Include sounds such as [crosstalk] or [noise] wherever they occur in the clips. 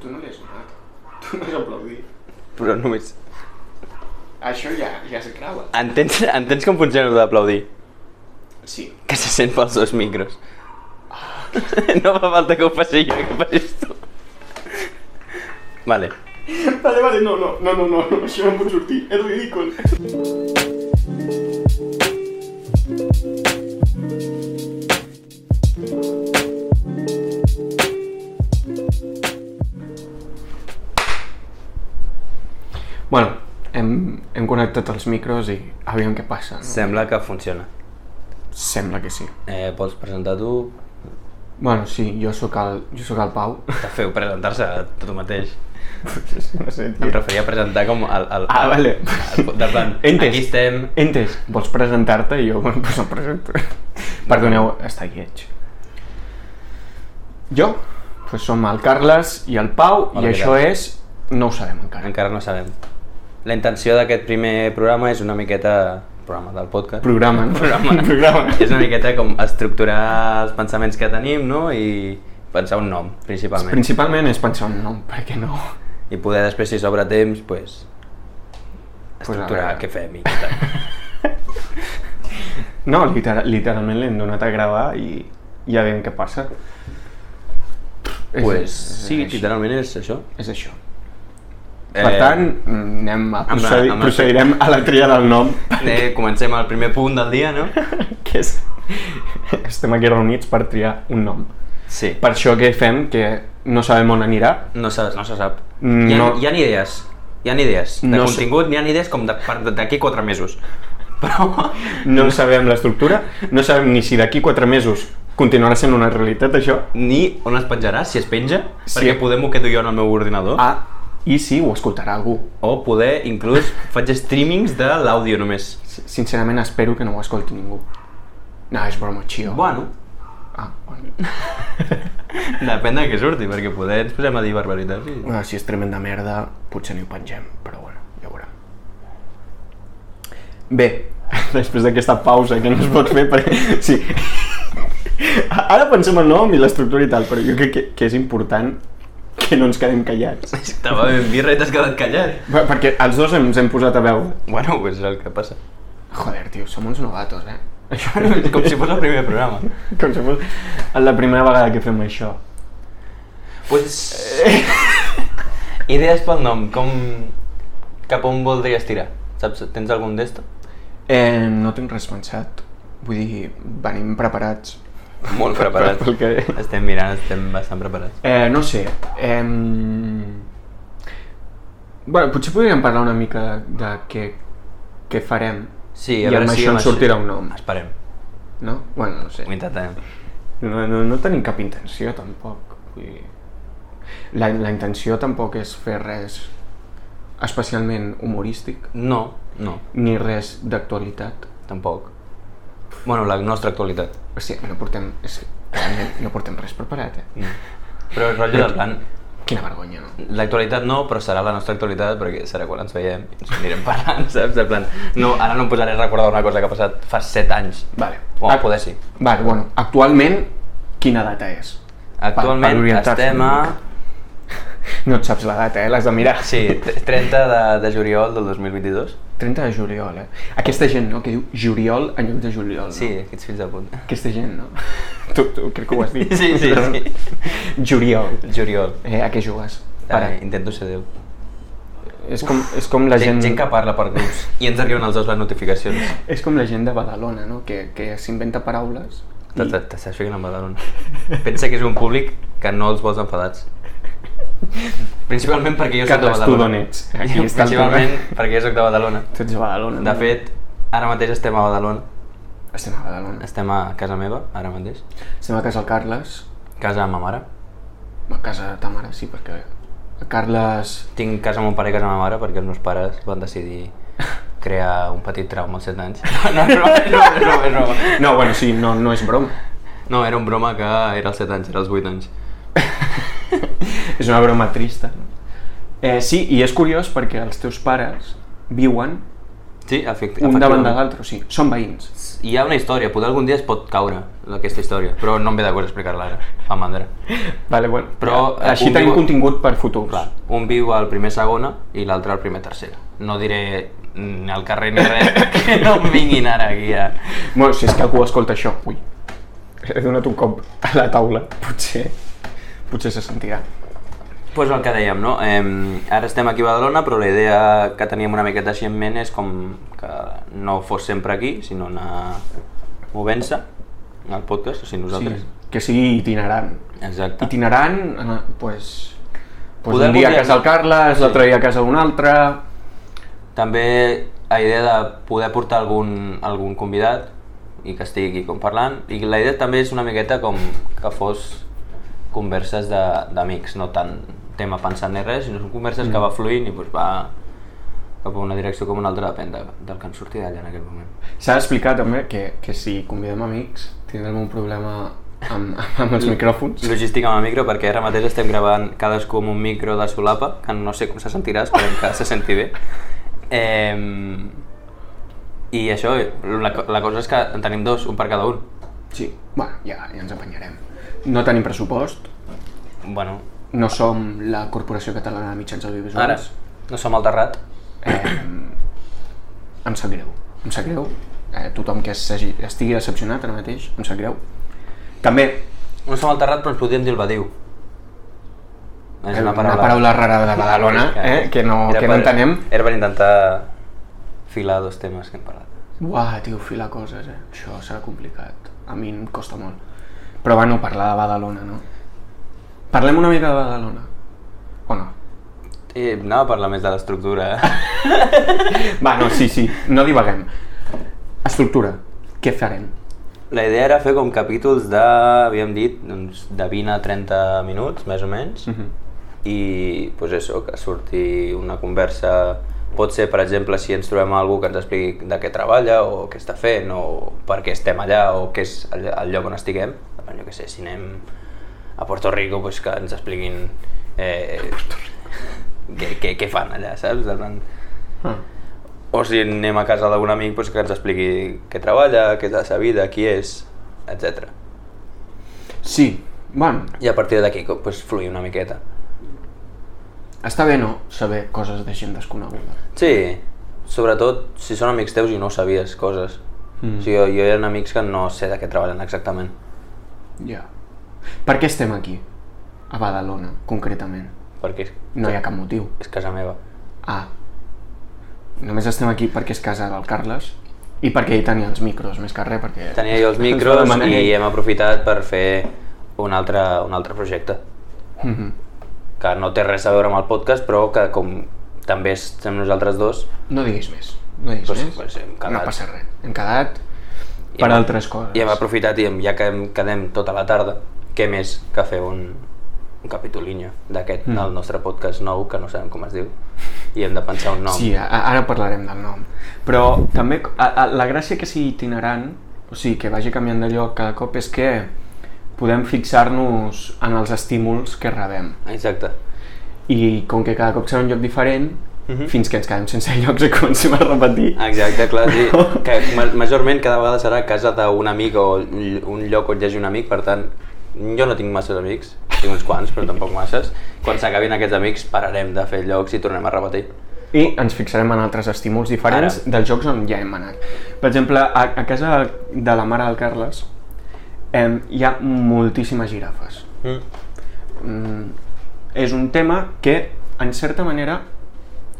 tu no li has donat. Tu no has aplaudit. Però només... Això ja, ja es grava. Entens, entens com funciona el d'aplaudir? Sí. [laughs] Que se sent pels dos micros. [laughs] No fa falta que ho faci jo, que ho facis tu. Vale. Vale, vale, no, no, no, no, no, no, això no em pot sortir. És ridícul. Bueno, hem, hem connectat els micros i aviam què passa. No? Sembla que funciona. Sembla que sí. Eh, pots presentar tu? Bueno, sí, jo sóc el, jo sóc el Pau. Te feu presentar-se a tu mateix. [laughs] no sé, Em referia a presentar com el... el Ah, vale. El, de [laughs] plan, Entes. aquí estem... Entes, vols presentar-te? I jo, bueno, pues em presento. Perdoneu, està lleig. Jo, pues som el Carles i el Pau, i Hola, què això tal? és... No ho sabem encara. Encara no sabem. La intenció d'aquest primer programa és una miqueta... Programa del podcast. Programa, no? [laughs] Programa. Programa. És una miqueta com estructurar els pensaments que tenim, no? I pensar un nom, principalment. Principalment és pensar un nom, perquè no... I poder després, si s'obre temps, pues, Pues estructurar ara. què fem i què tal. No, literal, literalment l'hem donat a gravar i ja veiem què passa. [laughs] És- pues, és- sí, és, així. literalment és això. Eh, és això. Per tant, mm, anem a amb la- procedir, amb la- procedirem a la tria del nom, eh, comencem el primer punt del dia, [laughs] no? que és... Estem aquí reunits per triar un nom. Sí. Per això que fem, que no sabem on anirà, No, se, no se sap. Mm, hi, ha, no. hi ha idees. Hi ha idees. De No sé. contingut n'hi ha idees com de- per- d'aquí quatre mesos. Però... no en sabem l'estructura, no sabem ni si d'aquí quatre mesos continuarà sent una realitat això, ni on es penjarà, si es penja, Sí. sí. perquè poder m'ho quedo jo en el meu ordinador, ah. ah, i si ho escoltarà algú. o poder, inclús, faig streamings de l'àudio només. S- Sincerament espero que no ho escolti ningú. No, és broma, xio. Bueno, Ah, bueno. depèn de què surti, perquè poder ens posem a dir barbaritats [laughs] i... Ah, si és tremenda merda, potser ni ho pengem, però bueno, ja ho veurem. Bé, [laughs] després d'aquesta pausa que no es pot fer, perquè... [laughs] Sí. Ara pensem en nom i l'estructura i tal, però jo crec que, que és important que no ens quedem callats. Estava ben birra i t'has quedat callat. Per- Perquè els dos ens hem posat a veure. Bueno, pues és el que passa. [laughs] Joder, tio, som uns novatos, eh? [laughs] Això És com si fos el primer programa. Com si fos la primera vegada que fem això. [laughs] Pues... Idees pel nom, com... Cap on voldries tirar? Saps, tens algun d'esto? Eh, no tinc res pensat. Vull dir, venim preparats. Molt preparats. Pel que- Estem mirant, estem bastant preparats. Eh, no sé. Ehm... Bueno, potser podríem parlar una mica de, de què, què farem, Sí, I a veure amb si això amb en sortirà un nom. Esperem, no? Bueno, no sé. ho intentem. No, no, no tenim cap intenció, tampoc. Vull dir... La, la intenció tampoc és fer res especialment humorístic, No, no, ni res d'actualitat. tampoc. Bueno, la nostra actualitat. [laughs] O sigui, no portem... És, que realment no portem res preparat, eh? Però el rotllo del plan, Quina vergonya, no? l'actualitat no, però serà la nostra actualitat perquè serà quan ens veiem i ens anirem parlant, [laughs] saps? De plan, no, ara no em posaré a recordar una cosa que ha passat fa 7 anys. Vale. O a poder sí. Vale, bueno, actualment, quina data és? Actualment orientar-se estem una a... mica. No et saps la data, eh? L'has de mirar. Sí, t- 30 de, de juliol del 2022. 30 de juliol, eh? Aquesta gent, no?, que diu juliol en lloc de juliol, no? Sí, aquests fills de puta. Aquesta gent, no? [laughs] Tu, tu crec que ho has dit. Sí, sí, sí. Juliol. Juliol. Eh, a què jugues? Ara, Ara, intento ser Déu. és com, és com la gent... Gent, gent que parla per grups i ens arriben els dos les [laughs] notificacions. És com la gent de Badalona, no?, que, que s'inventa paraules. Te- te- T'estàs ficant amb Badalona. Pensa que és un públic que no els vols [laughs] enfadats. Principalment perquè jo Que soc de t'has tu Badalona. d'on ets. [laughs] Aquí està el Principalment tema. perquè jo soc de Badalona. Tu ets de Badalona, De fet, ara mateix estem a Badalona. Estem a Badalona. Estem a casa meva, ara mateix. Estem a casa del Carles. Casa amb ma mare. A casa de ta mare, sí, perquè... el Carles... Tinc casa amb mon pare i casa amb ma mare perquè els meus pares van decidir crear un petit trauma als 7 anys. [laughs] No, no, no, no, no, no, no. No, bueno, sí, no, no és broma. no era un broma que era als 7 anys, era als 8 anys. és una broma trista. Eh, sí, i és curiós perquè els teus pares viuen Sí, efect un davant de efectivament. l'altre, o sigui, són veïns. Hi ha una història, potser algun dia es pot caure aquesta història, però no em ve de gust explicar-la ara, fa mandra. Vale, bueno, Però, eh, així un tenim viu- contingut per futurs. Clar, un viu al primer segona i l'altre al primer tercera. No diré ni al carrer ni res, [laughs] que no em vinguin ara aquí a... Bueno, si és que algú escolta això, ui, he donat un cop a la taula, potser, potser se sentirà. Pues el que dèiem, no? Eh, ara estem aquí a Badalona, però la idea que teníem una miqueta així en ment és com que no fos sempre aquí, sinó anar movent-se al podcast, o sigui, nosaltres. Que sigui itinerant. Sí. Exacte. Itinerant, eh, pues, pues Poder un dia a voldríem- casa del Carles, l'altre Sí. dia a casa d'un altre... També la idea de poder portar algun, algun convidat i que estigui aquí com parlant. I la idea també és una miqueta com que fos converses de- d'amics, no tant tema pensant ni res, sinó són converses mm. que va fluint i doncs va cap a una direcció com una altra, depèn de, del que ens surti d'allà en aquell moment. S'ha d'explicar també que, que si convidem amics tindrem un problema amb, amb els micròfons. Logística amb el micro, perquè ara mateix estem gravant cadascú amb un micro de solapa, que no sé com se sentirà, esperem que se senti bé. Eh, I això, la, co- la cosa és que en tenim dos, un per cada un. Sí, bueno, ja, ja ens apanyarem. No tenim pressupost, Bueno, no som la Corporació Catalana de Mitjans Audiovisuals. ara no som al terrat. Eh, em sap greu, em sap greu. Eh, tothom que s'hagi- estigui decepcionat ara mateix, em sap greu. També, No som al terrat, però ens podríem dir el badiu. És eh, una paraula, rara de [laughs] Badalona, eh, que no, Era que no per- entenem. Era per intentar filar dos temes que hem parlat. Uah, tio, filar coses, eh? Això serà complicat. A mi em costa molt. Però, bueno, parlar de Badalona, no? Parlem una mica de Badalona. O no? Eh, anava a parlar més de l'estructura, eh? Va, no, sí, sí, no divaguem. Estructura, què farem? La idea era fer com capítols de, havíem dit, doncs, de 20 a 30 minuts, més o menys, Mhm. i pues això, que surti una conversa, pot ser, per exemple, si ens trobem algú que ens expliqui de què treballa o què està fent o per què estem allà o què és el, el lloc on estiguem, Bueno, jo què sé, si anem a Puerto Rico, pues que ens expliquin eh, què, què, què fan allà, saps? En plan, Ah. o si anem a casa d'algun amic pues, que ens expliqui què treballa, què és la seva vida, qui és, etc. Sí, bueno, I a partir d'aquí co- pues, fluir una miqueta. està bé, no?, saber coses de gent desconeguda. Sí, sobretot si són amics teus i no sabies coses. Mm. Mm. O sigui, jo, jo eren amics que no sé de què treballen exactament. Ja. Per què estem aquí? A Badalona, concretament. Perquè és, No hi ha cap motiu. és casa meva. Ah. Només estem aquí perquè és casa del Carles i perquè ell tenia els micros, més que res, perquè... Tenia jo els [laughs] ens va micros demanar i ell. hem aprofitat per fer un altre, un altre projecte Mhm. que no té res a veure amb el podcast, però que com també estem nosaltres dos, No diguis més. No diguis Pues- més. pues hem no quedat. passa res. Hem quedat I per hem- altres coses. I hem aprofitat i hem, ja que hem, quedem tota la tarda, què més que fer un, un capitolinho d'aquest, Mm. del nostre podcast nou, que no sabem com es diu, i hem de pensar un nom. Sí, a- ara parlarem del nom. Però també a, a, la gràcia que sigui itinerant, o sigui, que vagi canviant de lloc cada cop, és que podem fixar-nos en els estímuls que rebem. Exacte. I com que cada cop serà un lloc diferent, Mhm. fins que ens quedem sense [laughs] llocs i comencem a repetir. Exacte, clar, [laughs] sí. Que ma- majorment cada vegada serà casa d'un amic o ll- un lloc on hi hagi un amic, per tant, jo no tinc masses amics, tinc uns quants, però tampoc masses. Quan s'acabin aquests amics pararem de fer llocs i tornem a repetir. I ens fixarem en altres estímuls diferents Ara. dels jocs on ja hem anat. Per exemple, a, a casa de la mare del Carles eh, hi ha moltíssimes girafes. Mm. Mm, és un tema que, en certa manera,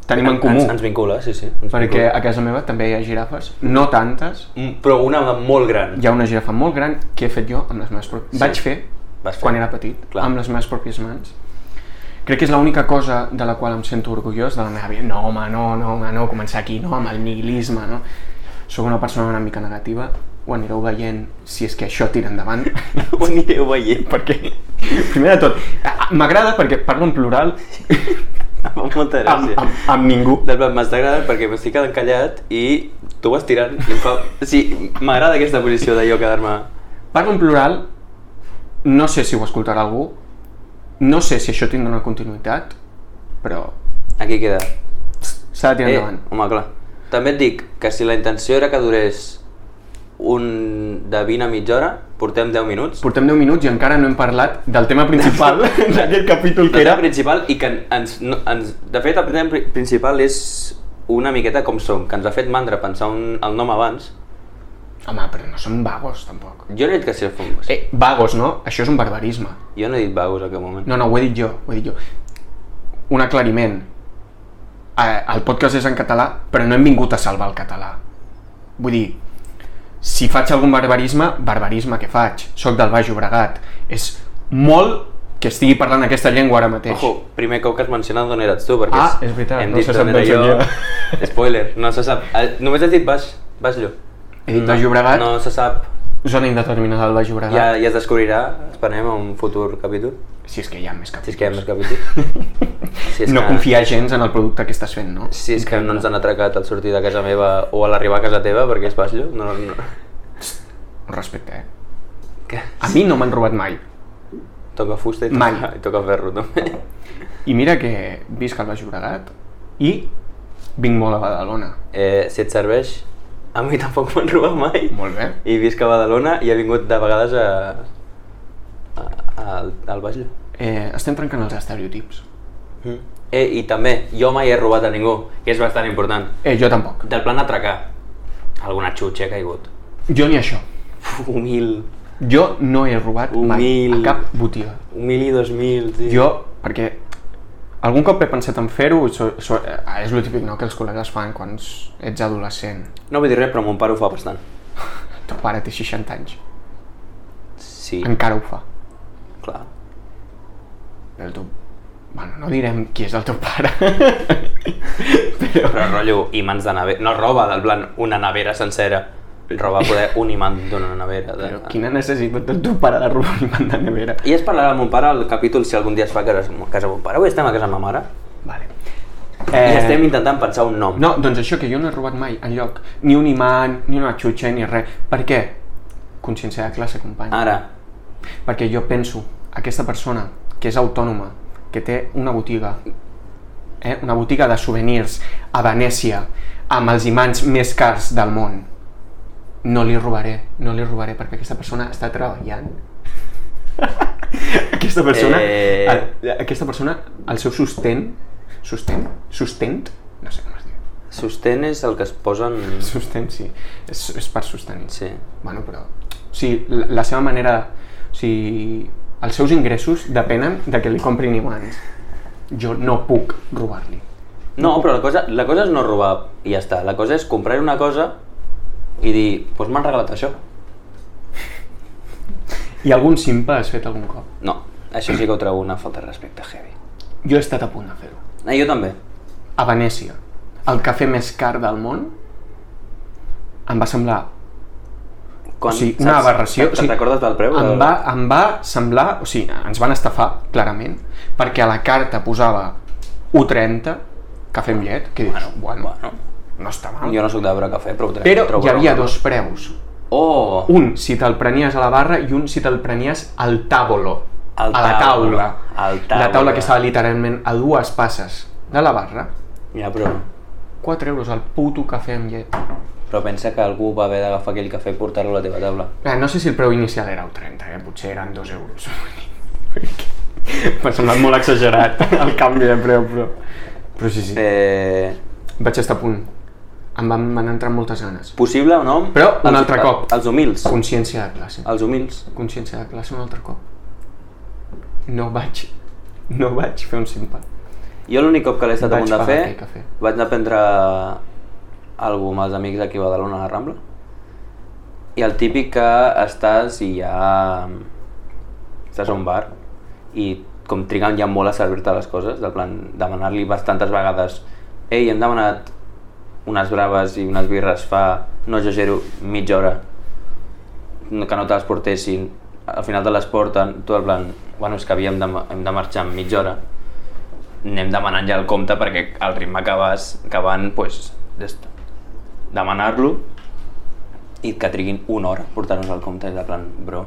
tenim en comú. Ens, ens vincula, sí, sí. Ens perquè vincula. a casa meva també hi ha girafes, no tantes. Mm, Però una molt gran. Hi ha una girafa molt gran que he fet jo amb les meves pròpies... Sí. Vaig fer, Vas fer. quan era petit, Clar. amb les meves pròpies mans. Crec que és l'única cosa de la qual em sento orgullós de la meva vida. No, home, no, no, home, no, començar aquí, no, amb el nihilisme, no. Soc una persona una mica negativa, ho anireu veient si és que això tira endavant. [laughs] Ho anireu veient, [laughs] perquè, primer de tot, a- a- m'agrada perquè parlo en plural [laughs] em fa molta amb, gràcia. amb, amb ningú. Del plan, m'està agradant perquè m'estic quedant callat i tu vas tirant i em fa... Sí, m'agrada aquesta posició de jo quedar-me... Parlo en plural, no sé si ho escoltarà algú, no sé si això tindrà una continuïtat, però Aquí queda. s'ha de tirar Eh, endavant. home, clar. T'ha- També et dic que si la intenció era que durés un de 20 a mitja hora, portem 10 minuts. Portem 10 minuts i encara no hem parlat del tema [laughs] principal d'aquest capítol que El tema era... principal i que ens, no, ens... De fet, el tema pri- principal és una miqueta com som, que ens ha fet mandra pensar un, el nom abans. Home, però no som vagos, tampoc. Jo no he dit que si el fum... Eh. Eh, vagos, no? Això és un barbarisme. Jo no he dit vagos en aquell moment. No, no, ho he dit jo, ho he dit jo. Un aclariment. Eh, el podcast és en català, però no hem vingut a salvar el català. Vull dir, si faig algun barbarisme, barbarisme que faig. Soc del Baix Llobregat. És molt que estigui parlant aquesta llengua ara mateix. Ojo, primer cop que has mencionat d'on eres tu, perquè Ah, és veritat, hem no dit se d'on sap era d'on jo. soc jo. Spoiler, no se sap. Eh, Només has dit Baix, Baix Llob. He dit Baix Llobregat. No se sap. Zona indeterminada del Baix Llobregat. Ja, ja es descobrirà, esperem, en un futur capítol. Si és que hi ha més capítols. Si és que hi ha més [laughs] capítol. Si és no que- confiar gens en el producte que estàs fent, no? Si és que no ens han atracat al sortir de casa meva o a l'arribar a casa teva, perquè és Baix Llob, no, no. Respecte, eh? Que... A mi no m'han robat mai. Toca fusta i Mai. toca, i toca ferro, també. I mira que visc al Baix Llobregat i vinc molt a Badalona. Eh, si et serveix, a mi tampoc m'han robat mai. Molt bé. I visc a Badalona i he vingut de vegades a, a, a al, al Baix Llob. Eh, estem trencant els estereotips. Eh, I també, jo mai he robat a ningú, que és bastant important. Eh, jo tampoc. Del plan atracar, alguna xutxa ha caigut. Jo ni això. Humil, Jo no he robat mai Humil. a cap botiga. humil i dos mil, tio. Jo, perquè algun cop he pensat en fer-ho, so, so, eh, és el típic no, que els col·legues fan quan s- ets adolescent. No vull dir res, però mon pare ho fa bastant. Ton pare té 60 anys, Sí, encara ho fa. clar. El teu... Bueno, no direm qui és el teu pare. [laughs] Però rotllo imants de nevera. No roba, del plan, una nevera sencera. Roba poder un imant d'una nevera. De... Però quina necessitat del teu pare de robar un imant de nevera? I es parlarà amb mon pare al capítol si algun dia es fa a casa, a casa mon pare. Avui estem a casa amb ma mare Vale. eh... i estem intentant pensar un nom. No, doncs això, que jo no he robat mai enlloc. Ni un imant, ni una xutxa, ni res. Per què? Consciència de classe, company. Ara, Perquè jo penso, aquesta persona que és autònoma, que té una botiga, eh, una botiga de souvenirs a Venècia, amb els imants més cars del món, no li robaré, no li robaré, perquè aquesta persona està treballant. [laughs] aquesta persona, Eh. eh... aquesta persona, el seu sostén, sostén, sostén, no sé com es diu, sostén és el que es posen... sostén, sí, és, és per sostenir. Sí. Bueno, però... O sigui, la, la seva manera... O sigui, els seus ingressos depenen de que li comprin imants. Jo no puc robar-li. No, però la cosa, la cosa és no robar i ja està. La cosa és comprar una cosa i dir, doncs pues m'han regalat això. I algun simpa has fet algun cop. No, això sí que ho trobo una falta de respecte heavy. Jo he estat a punt de fer-ho. Eh, jo també. A Venècia, el cafè més car del món, em va semblar... Quan, O sigui, una saps? aberració, Te'n o sigui, recordes del preu? Em del- va, em va semblar... O sigui, ens van estafar, clarament, perquè a la carta posava 1,30, cafè amb llet, que dius, bueno, Bueno, no està mal. jo no sóc de beure cafè, però ho trobo. Però trobo hi havia normal. dos preus. Oh! un si te'l prenies a la barra i un si te'l prenies al tàbolo, Al a la tàbolo, taula. al La taula tàbolo. que estava literalment a dues passes de la barra, Ja, però, 4 euros al puto cafè amb llet. però pensa que algú va haver d'agafar aquell cafè i portar-lo a la teva taula. Eh, no sé si el preu inicial era el 30, eh? potser eren 2 euros. [laughs] M'ha semblat molt exagerat [laughs] el canvi de preu, però... Però sí, sí. Eh, Vaig estar a punt. Em van, van entrar moltes ganes. possible o no? Però un Els- altre cop. Els humils. Consciència de classe. Els humils. consciència de classe un altre cop. No vaig, no vaig fer un simpa. Jo l'únic cop que l'he estat a Vaig punt de pagar fer, aquell cafè. vaig anar a prendre algú amb els amics d'aquí a Badalona a la Rambla. I el típic que estàs i ja... Estàs a un bar i com triguen ja molt a servir-te les coses, del plan demanar-li bastantes vegades «Ei, hem demanat unes braves i unes birres fa, no exagero, mitja hora, no- que no te les portessin, al final te les porten, tu al plan, bueno, és que havíem de, hem de marxar en mitja hora, anem demanant ja el compte perquè el ritme que, vas, que van, pues, des- demanar-lo i que triguin una hora a portar-nos el compte, és de plan, bro,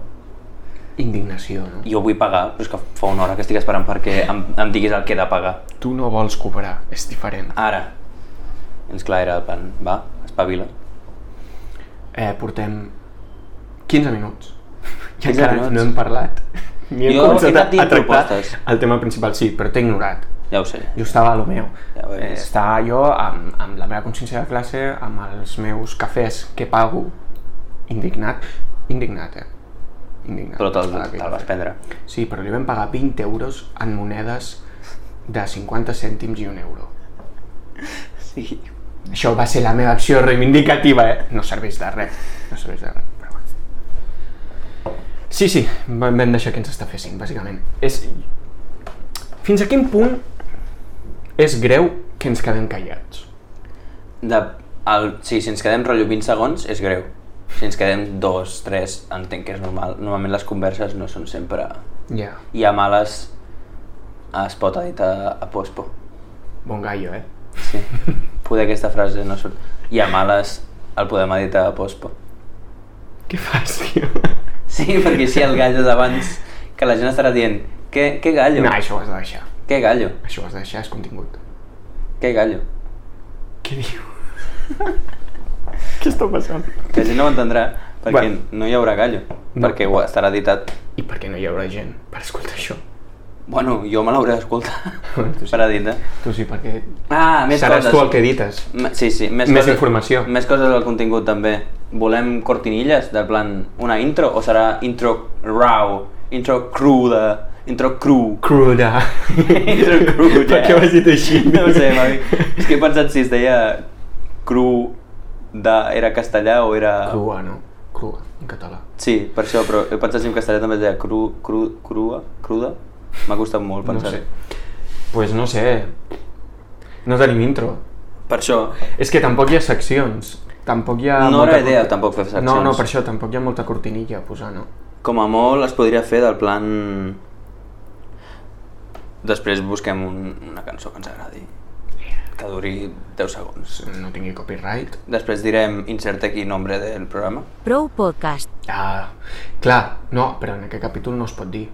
Indignació, no? jo vull pagar, però és que fa una hora que estic esperant perquè em, em diguis el que he de pagar. Tu no vols cobrar, és diferent. Ara, Ens clar, era el plan, va, espavila. Eh, portem 15 minuts. [laughs] I 15 encara minuts. no hem parlat. Ni hem Jo he començat a, anat dient a tractar propostes. el tema principal, sí, però t'he ignorat. Ja ho sé. Jo estava a lo meu. Ja ho eh, he vist. estava jo amb, amb la meva consciència de classe, amb els meus cafès que pago, indignat, indignat, eh? Indignat. Però te'l Estava aquí. te vas prendre. Sí, però li vam pagar 20 euros en monedes de 50 cèntims i un euro. Sí. Això va ser la meva acció reivindicativa, eh? No serveix de res, no serveix de res, però bueno. Sí, sí, vam vam deixar que ens estafessin, bàsicament. És... Fins a quin punt és greu que ens quedem callats? De, el, sí, si ens quedem rotllo 20 segons, és greu. Si ens quedem 2, 3, entenc que és normal. Normalment les converses no són sempre... Ja, yeah. I a males es pot editar a pospo. bon gallo, eh? Sí. Poder aquesta frase no surt. I a males el podem editar a pospo. [laughs] Què fas, tio? Sí, perquè si el gallo d'abans que la gent estarà dient què, què gallo? No, això ho has de deixar. Què gallo? Això ho has de deixar, és contingut. Què gallo? Què diu? [laughs] Què està passant? La gent no ho entendrà perquè Bueno. no hi haurà gallo, No. perquè ho estarà editat. I per què no hi haurà gent per escoltar això? Bueno, jo me l'hauré d'escoltar [laughs] Bueno, tu sí. per editar. Tu sí, perquè Ah, més seràs coses. tu el que edites. M- Sí, sí, més, Més coses, informació. Més coses del contingut també. Volem cortinilles, del plan una intro, o serà intro raw, intro cruda, intro cru. [laughs] [laughs] Cruda. intro cruda. Per què ho has dit així? [laughs] No ho sé, Mavi. És que he pensat si es deia cru de... era castellà o era... Crua, no? Crua, en català. Sí, per això, però he pensat si en castellà també es deia cru, cru, crua, cruda. M'ha costat molt No pensar. sé. Pues no sé. No tenim intro. Per això, És que tampoc hi ha seccions. Tampoc hi ha... No molta era idea, corti- tampoc, fer seccions. No, no, per això tampoc hi ha molta cortinilla a posar, no? Com a molt es podria fer del plan... Després busquem un, una cançó que ens agradi, que duri 10 segons. No tingui copyright. Després direm, inserta aquí nombre del programa. Pro Podcast. Ah, clar, no, però en aquest capítol no es pot dir.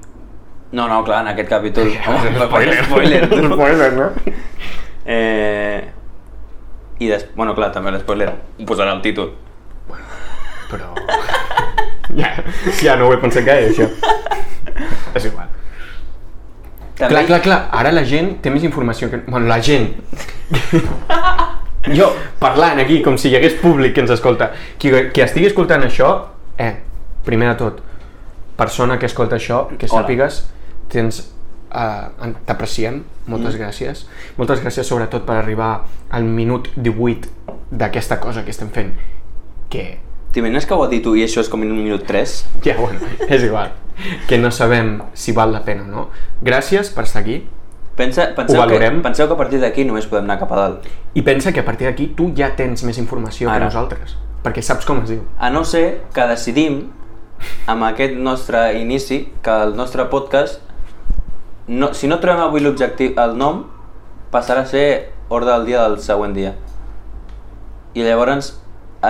No, no, clar, en aquest [laughs] capítol... [laughs] Home, spoiler, [laughs] spoiler, no? eh, I des... Bueno, clar, també l'espoiler posarà el títol. Però... [laughs] ja, ja no ho he pensat gaire, això. [laughs] És igual. També, Clar, clar, clar, ara la gent té més informació que... Bueno, la gent. jo, parlant aquí, com si hi hagués públic que ens escolta. Qui, qui estigui escoltant això, eh, primer de tot, persona que escolta això, que Hola. sàpigues, tens... eh, en- t'apreciem, moltes mm. gràcies. Moltes gràcies sobretot per arribar al minut 18 d'aquesta cosa que estem fent, que T'imagines que ho ha dit tu i això és com en un minut 3? ja, bueno, és igual, que no sabem si val la pena o no. Gràcies per estar aquí, Pensa, penseu, que, valorem. penseu que a partir d'aquí només podem anar cap a dalt. I pensa que a partir d'aquí tu ja tens més informació Ara. Ara. que nosaltres, perquè saps com es diu. A no ser que decidim, amb aquest nostre inici, que el nostre podcast, no, si no trobem avui l'objectiu, el nom, passarà a ser ordre del dia del següent dia. I llavors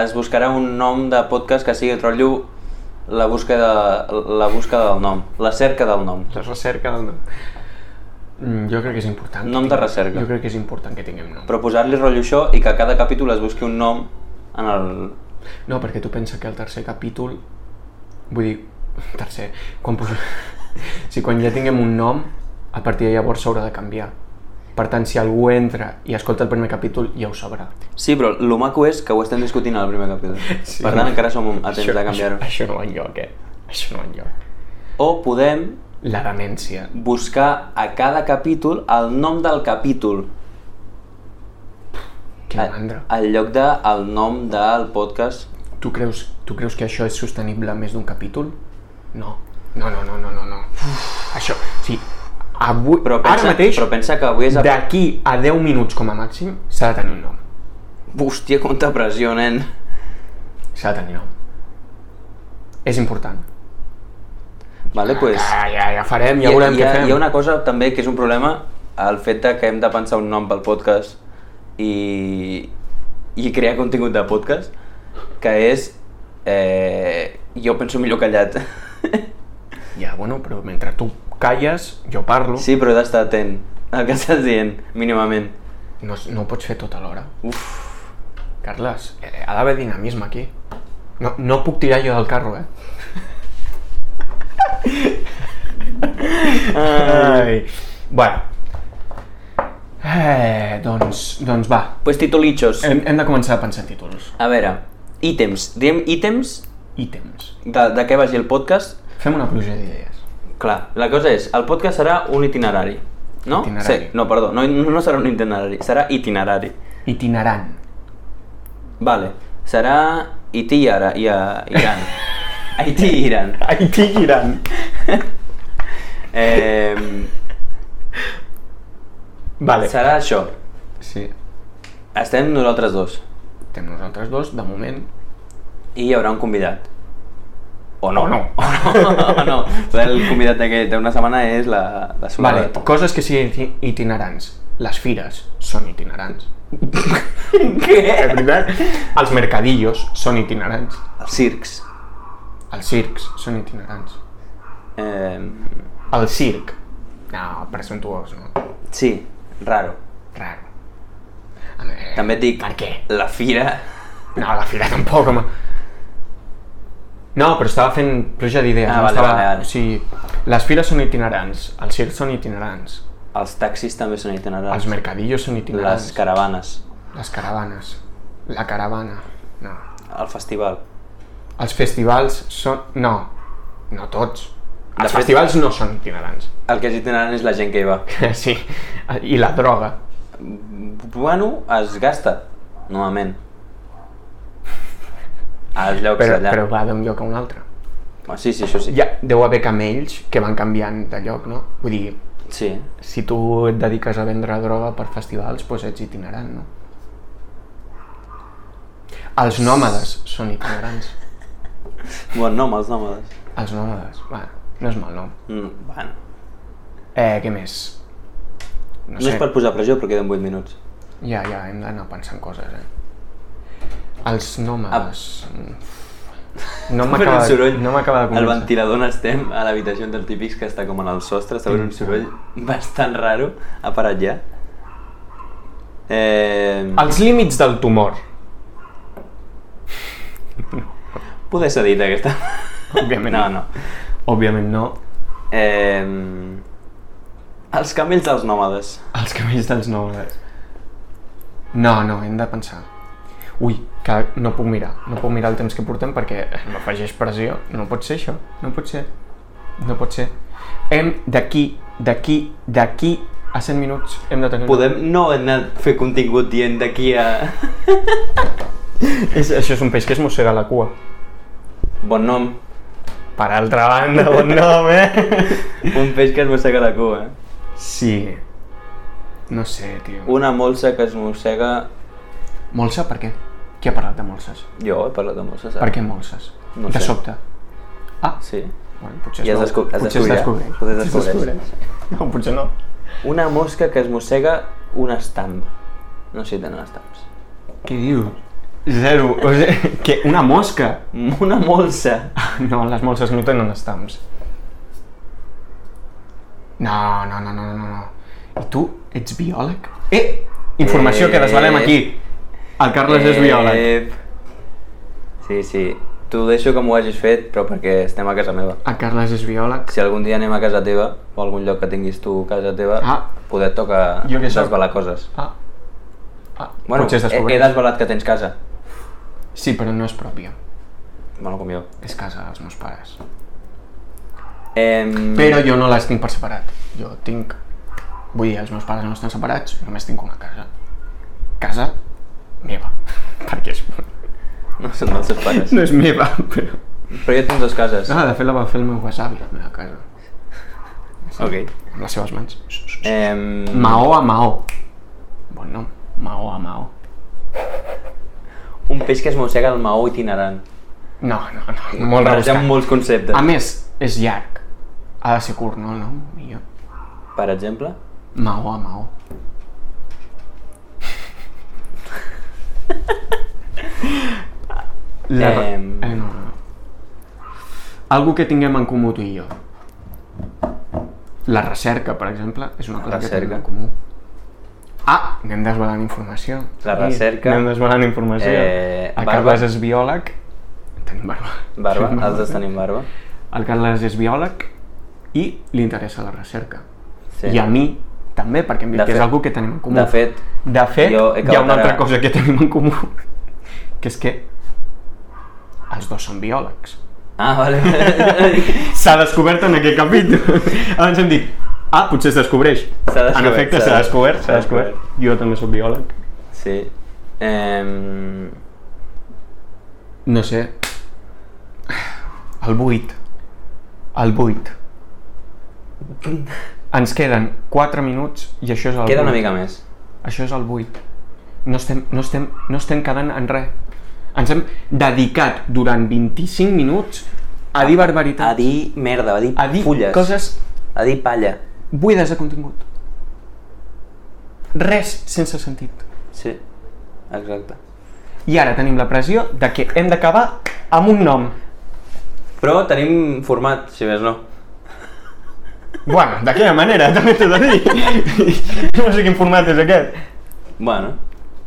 es buscarà un nom de podcast que sigui rotllo la búsqueda, la búsqueda del nom, la cerca del nom. La recerca del nom. Mm, Jo crec que és important. Nom que de tinguem- recerca. Jo crec que és important que tinguem nom. Però... Però posar-li rotllo això i que a cada capítol es busqui un nom en el... No, perquè tu pensa que el tercer capítol... Vull dir, [laughs] tercer... Quan pos... [laughs] si quan ja tinguem un nom, a partir de llavors s'haurà de canviar. Per tant, si algú entra i escolta el primer capítol, ja ho sabrà. Sí, però lo maco és que ho estem discutint al primer capítol. Sí. Per tant, encara som a temps Això- de canviar-ho. Això, això no va enlloc, eh? Això no va enlloc. O podem La demència. buscar a cada capítol el nom del capítol. Que A- mandra. Al lloc de el nom del podcast. Tu creus, tu creus que això és sostenible a més d'un capítol? No. No, no, no, no, no. no. Això, sí, avui, Però pensa, ara mateix, però pensa que avui és... A... d'aquí a 10 minuts com a màxim, s'ha de tenir un nom. Hòstia, quanta pressió, nen. S'ha de tenir nom. És important. Vale, pues, Ah, Ja, ja, ja farem, ja veurem hi, ha, què fem. hi ha una cosa també que és un problema, el fet de que hem de pensar un nom pel podcast i, i crear contingut de podcast, que és... Eh, jo penso millor callat. Oh. Ja, bueno, però mentre tu calles, jo parlo, sí, però he d'estar atent al que estàs dient, mínimament. no, no ho pots fer tot alhora. Uf, tota Carles, eh, ha d'haver dinamisme aquí. No, no puc tirar jo del carro, eh? Ai. Bueno. Eh, doncs, doncs va. Pues titulitxos. Hem, hem de començar a pensar en títols. A veure, ítems. Diem ítems Ítems. de, de què vagi el podcast. Fem una pluja d'idees. Clar, la cosa és, el podcast serà un itinerari. No? Itinerari. Sí, no, perdó, no, no serà un itinerari, serà itinerari. Itinerant. Vale, serà Haití i ara, i a Iran. [laughs] Haití i Iran. Itigirant. Eh, Vale. serà això. Sí. Estem nosaltres dos. Estem nosaltres dos, de moment. I hi haurà un convidat. O no. O no. [laughs] O no. o no. El convidat d'aquest d'una setmana és la, la Vale, Soledat. coses que siguin iti- itinerants. Les fires són itinerants. [laughs] Què? veritat? Els mercadillos són itinerants. Els circs. Els circs són itinerants. Eh, El circ. No, presuntuós, no? sí, raro. Raro. A veure, També et dic, Per què? la fira... No, la fira tampoc, home. No, però estava fent pluja d'idees. Ah, no vale, estava... vale, vale. O sigui, les fires són itinerants, els circs són itinerants, Els taxis també són itinerants. els mercadillos són itinerants, Les caravanes. les caravanes, la caravana, no. El festival. Els festivals són... No, no tots. De Els fet- festivals no són [laughs] itinerants. El que és itinerant és la gent que hi va. Sí, i la droga. Bueno, es gasta, normalment. Als llocs Però, allà. però va d'un lloc a un altre. Ah, Sí, sí, això sí. Ja, deu haver camells que van canviant de lloc, no? Vull dir, Sí. si tu et dediques a vendre droga per festivals, doncs ets itinerant, no? Els nòmades són itinerants. Bon nom, els nòmades. Els nòmades, va, no és mal nom. Mm, bueno. Eh, què més? No No sé, és per posar pressió, però queden 8 minuts. ja, ja, hem d'anar pensant coses, eh? Els nòmades... [laughs] No m'acaba Fent un Ah. soroll. no m'acaba de El convèncer. ventilador on estem, a l'habitació dels típics que està com en el sostre, està fent un soroll bastant raro, ha parat ja. Eh, Els límits del tumor, Poder ser dit aquesta. òbviament. No, no. Òbviament no. Eh, els camells dels nòmades. Els cabells dels nòmades. No, no, hem de pensar. Ui, que no puc mirar, no puc mirar el temps que portem perquè m'afegeix pressió. No pot ser això, no pot ser, no pot ser. Hem d'aquí, d'aquí, d'aquí a 100 minuts hem de tenir... Podem no anar a fer contingut dient d'aquí a... És, [laughs] això és un peix que es mossega la cua. Bon nom. Per altra banda, bon nom, eh? Un peix que es mossega la cua. eh? Sí. No sé, tio. Una molsa que es mossega... Molsa, per què? Qui ha parlat de molses? Jo he parlat de molsa, saps? Per què molses? No de sé. sobte. Ah, Sí. Bueno, potser I es, es veu- desco- es potser es descobrirà. descobreix. Potser es descobreix. [laughs] No, potser no. Una mosca que es mossega un estamp. No sé si tenen estamps. Què dius? Zero. O sigui, que una mosca. [laughs] Una molsa. No, les molses no tenen estams. No, no, no, no, no, no. I tu ets biòleg? Eh! Informació que desvalem Eh. aquí. El Carles és biòleg. Ep. Eh, Sí, sí. T'ho deixo com ho hagis fet, però perquè estem a casa meva. El Carles és biòleg. Si algun dia anem a casa teva, o a algun lloc que tinguis tu a casa teva, Ah. poder tocar Jo què sóc? desvelar coses. Ah. ah. Bueno, potser es he, he descobreix. desvelat que tens casa. Sí, però no és pròpia. Bueno, com jo. És casa dels meus pares. Em... Però jo no les tinc per separat. Jo tinc... Vull dir, els meus pares no estan separats, només tinc una casa. Casa meva. [laughs] Perquè és... [laughs] No són dels seus pares. No és meva, però... Però jo tinc dues cases. Ah, de fet la va fer el meu wasabi, la meva casa. Ok. Amb les seves mans. Em... Maó a Maó. Bon nom. Maó a Maó. Un peix que es mossega el maó itinerant. No, no, no. Molt Barregem rebuscat. molts conceptes. A més, és llarg. Ha de ser curt, no? No, millor. Per exemple, Maó a Maó. La... Eh... Em. Eh, no, no. Algo que tinguem en comú tu i jo. La recerca, per exemple, és una cosa que Recerca. tenim en comú. Ah, anem desvelant informació. La Sí, recerca. Anem desvelant informació. Eh, el barba. Carles és biòleg. Tenim barba. Barba, Tenim els dos tenim barba. El Carles és biòleg i li interessa la recerca. Sí. I a mi també, perquè em diu De que és fet- algú que tenim en comú. De fet, de fet jo he hi ha acabat una altra ara- cosa que tenim en comú, [laughs] que és que els dos són biòlegs. Ah, vale. [laughs] S'ha descobert en aquest capítol. Abans hem dit, ah, potser es descobreix. S'ha descobert, en efecte, s'ha s'ha descobert, s'ha s'ha descobert. Jo també sóc biòleg. sí. Eh, No sé. El buit. El buit. Ens queden 4 minuts i això és el queda una buit. mica més. Això és el buit. No estem, no estem, no estem quedant en res. Ens hem dedicat durant 25 minuts a dir A barbaritat, dir merda, a dir, a dir fulles, coses a dir palla. buides de contingut. Res sense sentit. Sí, exacte. I ara tenim la pressió de que hem d'acabar amb un nom. Però tenim format, si més no. Bueno, d'aquella manera, [laughs] també t'ho he de dir. [laughs] No sé quin format és aquest. Bueno,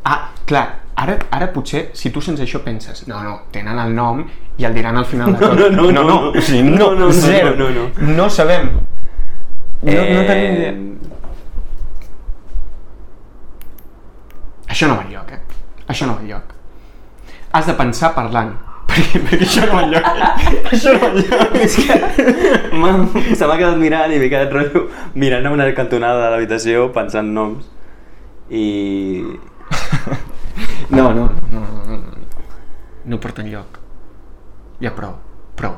Ah, clar, ara, ara potser, si tu sense això penses, no, no, tenen el nom i el diran al final de No, tot. no, no, no, no, no. o sigui, no, No, no, no, zero, no, no, no sabem. Eh, No, eh, no tenim idea. Això no va enlloc, eh? Això no va enlloc. Has de pensar parlant, [laughs] perquè, perquè això no va enlloc. això no va enlloc. [laughs] És que m'ha- se m'ha quedat mirant i m'he quedat rotllo mirant a una cantonada de l'habitació pensant noms i... [laughs] No, no, no, no, no, no. No porta enlloc. Ja prou, prou,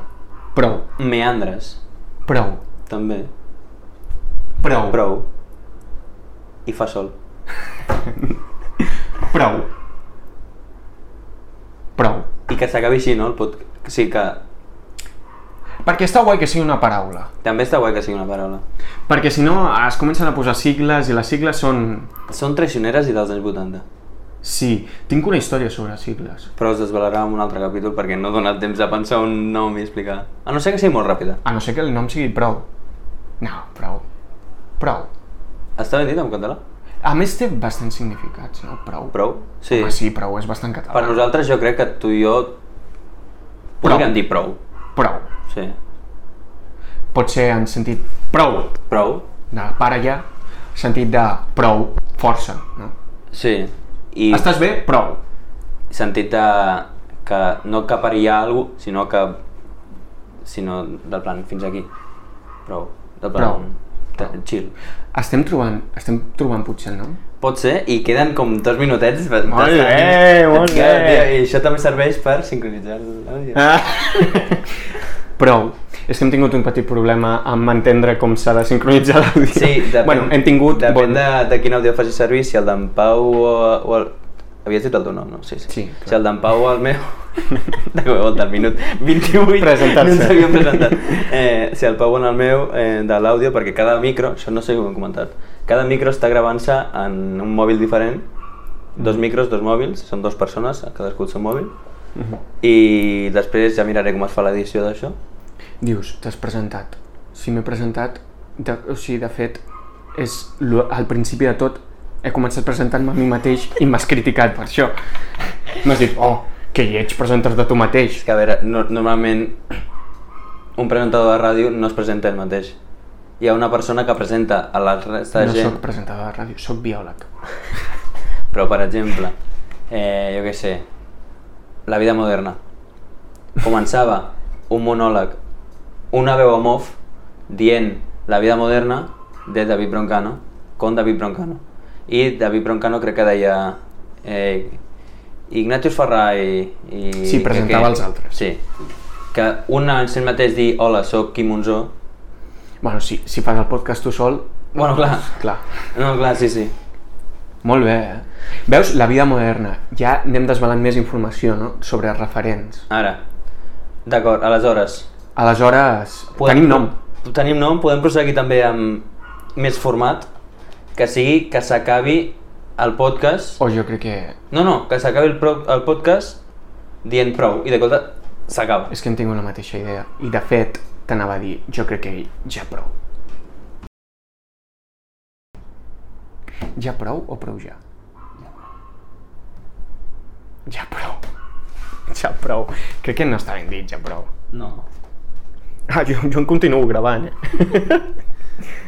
prou, meandres, prou, també, prou, prou, i fa sol. prou. Prou. I que s'acabi així, no? El pot... Sí, que Perquè està guai que sigui una paraula. també està guai que sigui una paraula. Perquè si no es comencen a posar sigles i les sigles són... Són traicioneres i dels anys 80, Sí, tinc una història sobre sigles. però us desvelarà en un altre capítol perquè no he donat temps de pensar un nom i explicar. A no ser que sigui molt ràpida. A no ser que el nom sigui prou. No, prou. Prou. Està ben dit en català? A més té bastants significats, no? Prou. Prou? Sí. Home, Ah, sí, prou, és bastant català. Per nosaltres jo crec que tu i jo podríem dir prou. Prou. Sí. Pot ser en sentit prou, Prou? de para ja, sentit de prou, força, no? Sí. I Estàs bé? Prou. sentit de, que no que perillar algú, sinó que... sinó del plan fins aquí. Prou. Del plan... Prou. Chill. Estem trobant, estem trobant potser el nom? Pot ser, i queden com dos minutets. per- Molt d'estar- bé, molt Hòstia, bé. tio, I això també serveix per sincronitzar el- l'àudio. Ah. [laughs] Prou. És que hem tingut un petit problema amb entendre com s'ha de sincronitzar l'àudio. Sí, depèn, bueno, hem tingut... depèn bon- de, de quin àudio facis servir, si el d'en Pau o, o el... Havies dit el teu nom, no? Sí, sí. Sí, clar. si el d'en Pau o el meu... [laughs] de cop i volta, al minut 28 Presentar-se. no ens havíem presentat. Eh, si el Pau o el meu eh, de l'àudio, perquè cada micro, això no sé com hem comentat, cada micro està gravant-se en un mòbil diferent, Mm. dos micros, dos mòbils, són dues persones, cadascú el seu mòbil, Mhm. i després ja miraré com es fa l'edició d'això. Dius, t'has presentat. Si m'he presentat, de, o sigui, de fet, és lo- al principi de tot he començat presentant-me a mi mateix i m'has criticat per això. M'has dit, oh, que lleig presentar-te tu mateix. És que a veure, no, normalment un presentador de ràdio no es presenta el mateix. Hi ha una persona que presenta a la resta de No gent, sóc presentador de ràdio, sóc biòleg. però per exemple, eh, jo què sé, la vida moderna. Començava un monòleg, una veu amb off, dient la vida moderna de David Broncano, con David Broncano. I David Broncano crec que deia eh, Ignatius Ferrà i... i Sí, presentava que- els altres. Sí, que un en si mateix dir hola, sóc Quim Monzó, Bueno, si, si fas el podcast tu sol, Bueno, clar. clar. No, clar, sí, sí. Molt bé, eh? Veus, la vida moderna. Ja anem desvelant més informació, no?, sobre referents. Ara. D'acord, aleshores. Aleshores, tenim nom. Tenim nom, podem proseguir també amb més format, que sigui que s'acabi el podcast... O jo crec que... No, no, que s'acabi el, pro- el podcast dient prou, i de cop s'acaba. És que en tinc una mateixa idea. I, de fet, t'anava a dir, jo crec que ja prou. Ja prou o prou ja? Ja prou. [laughs] Ja prou. Crec que no està ben dit, ja prou. No. Ah, jo, jo en continuo gravant, eh?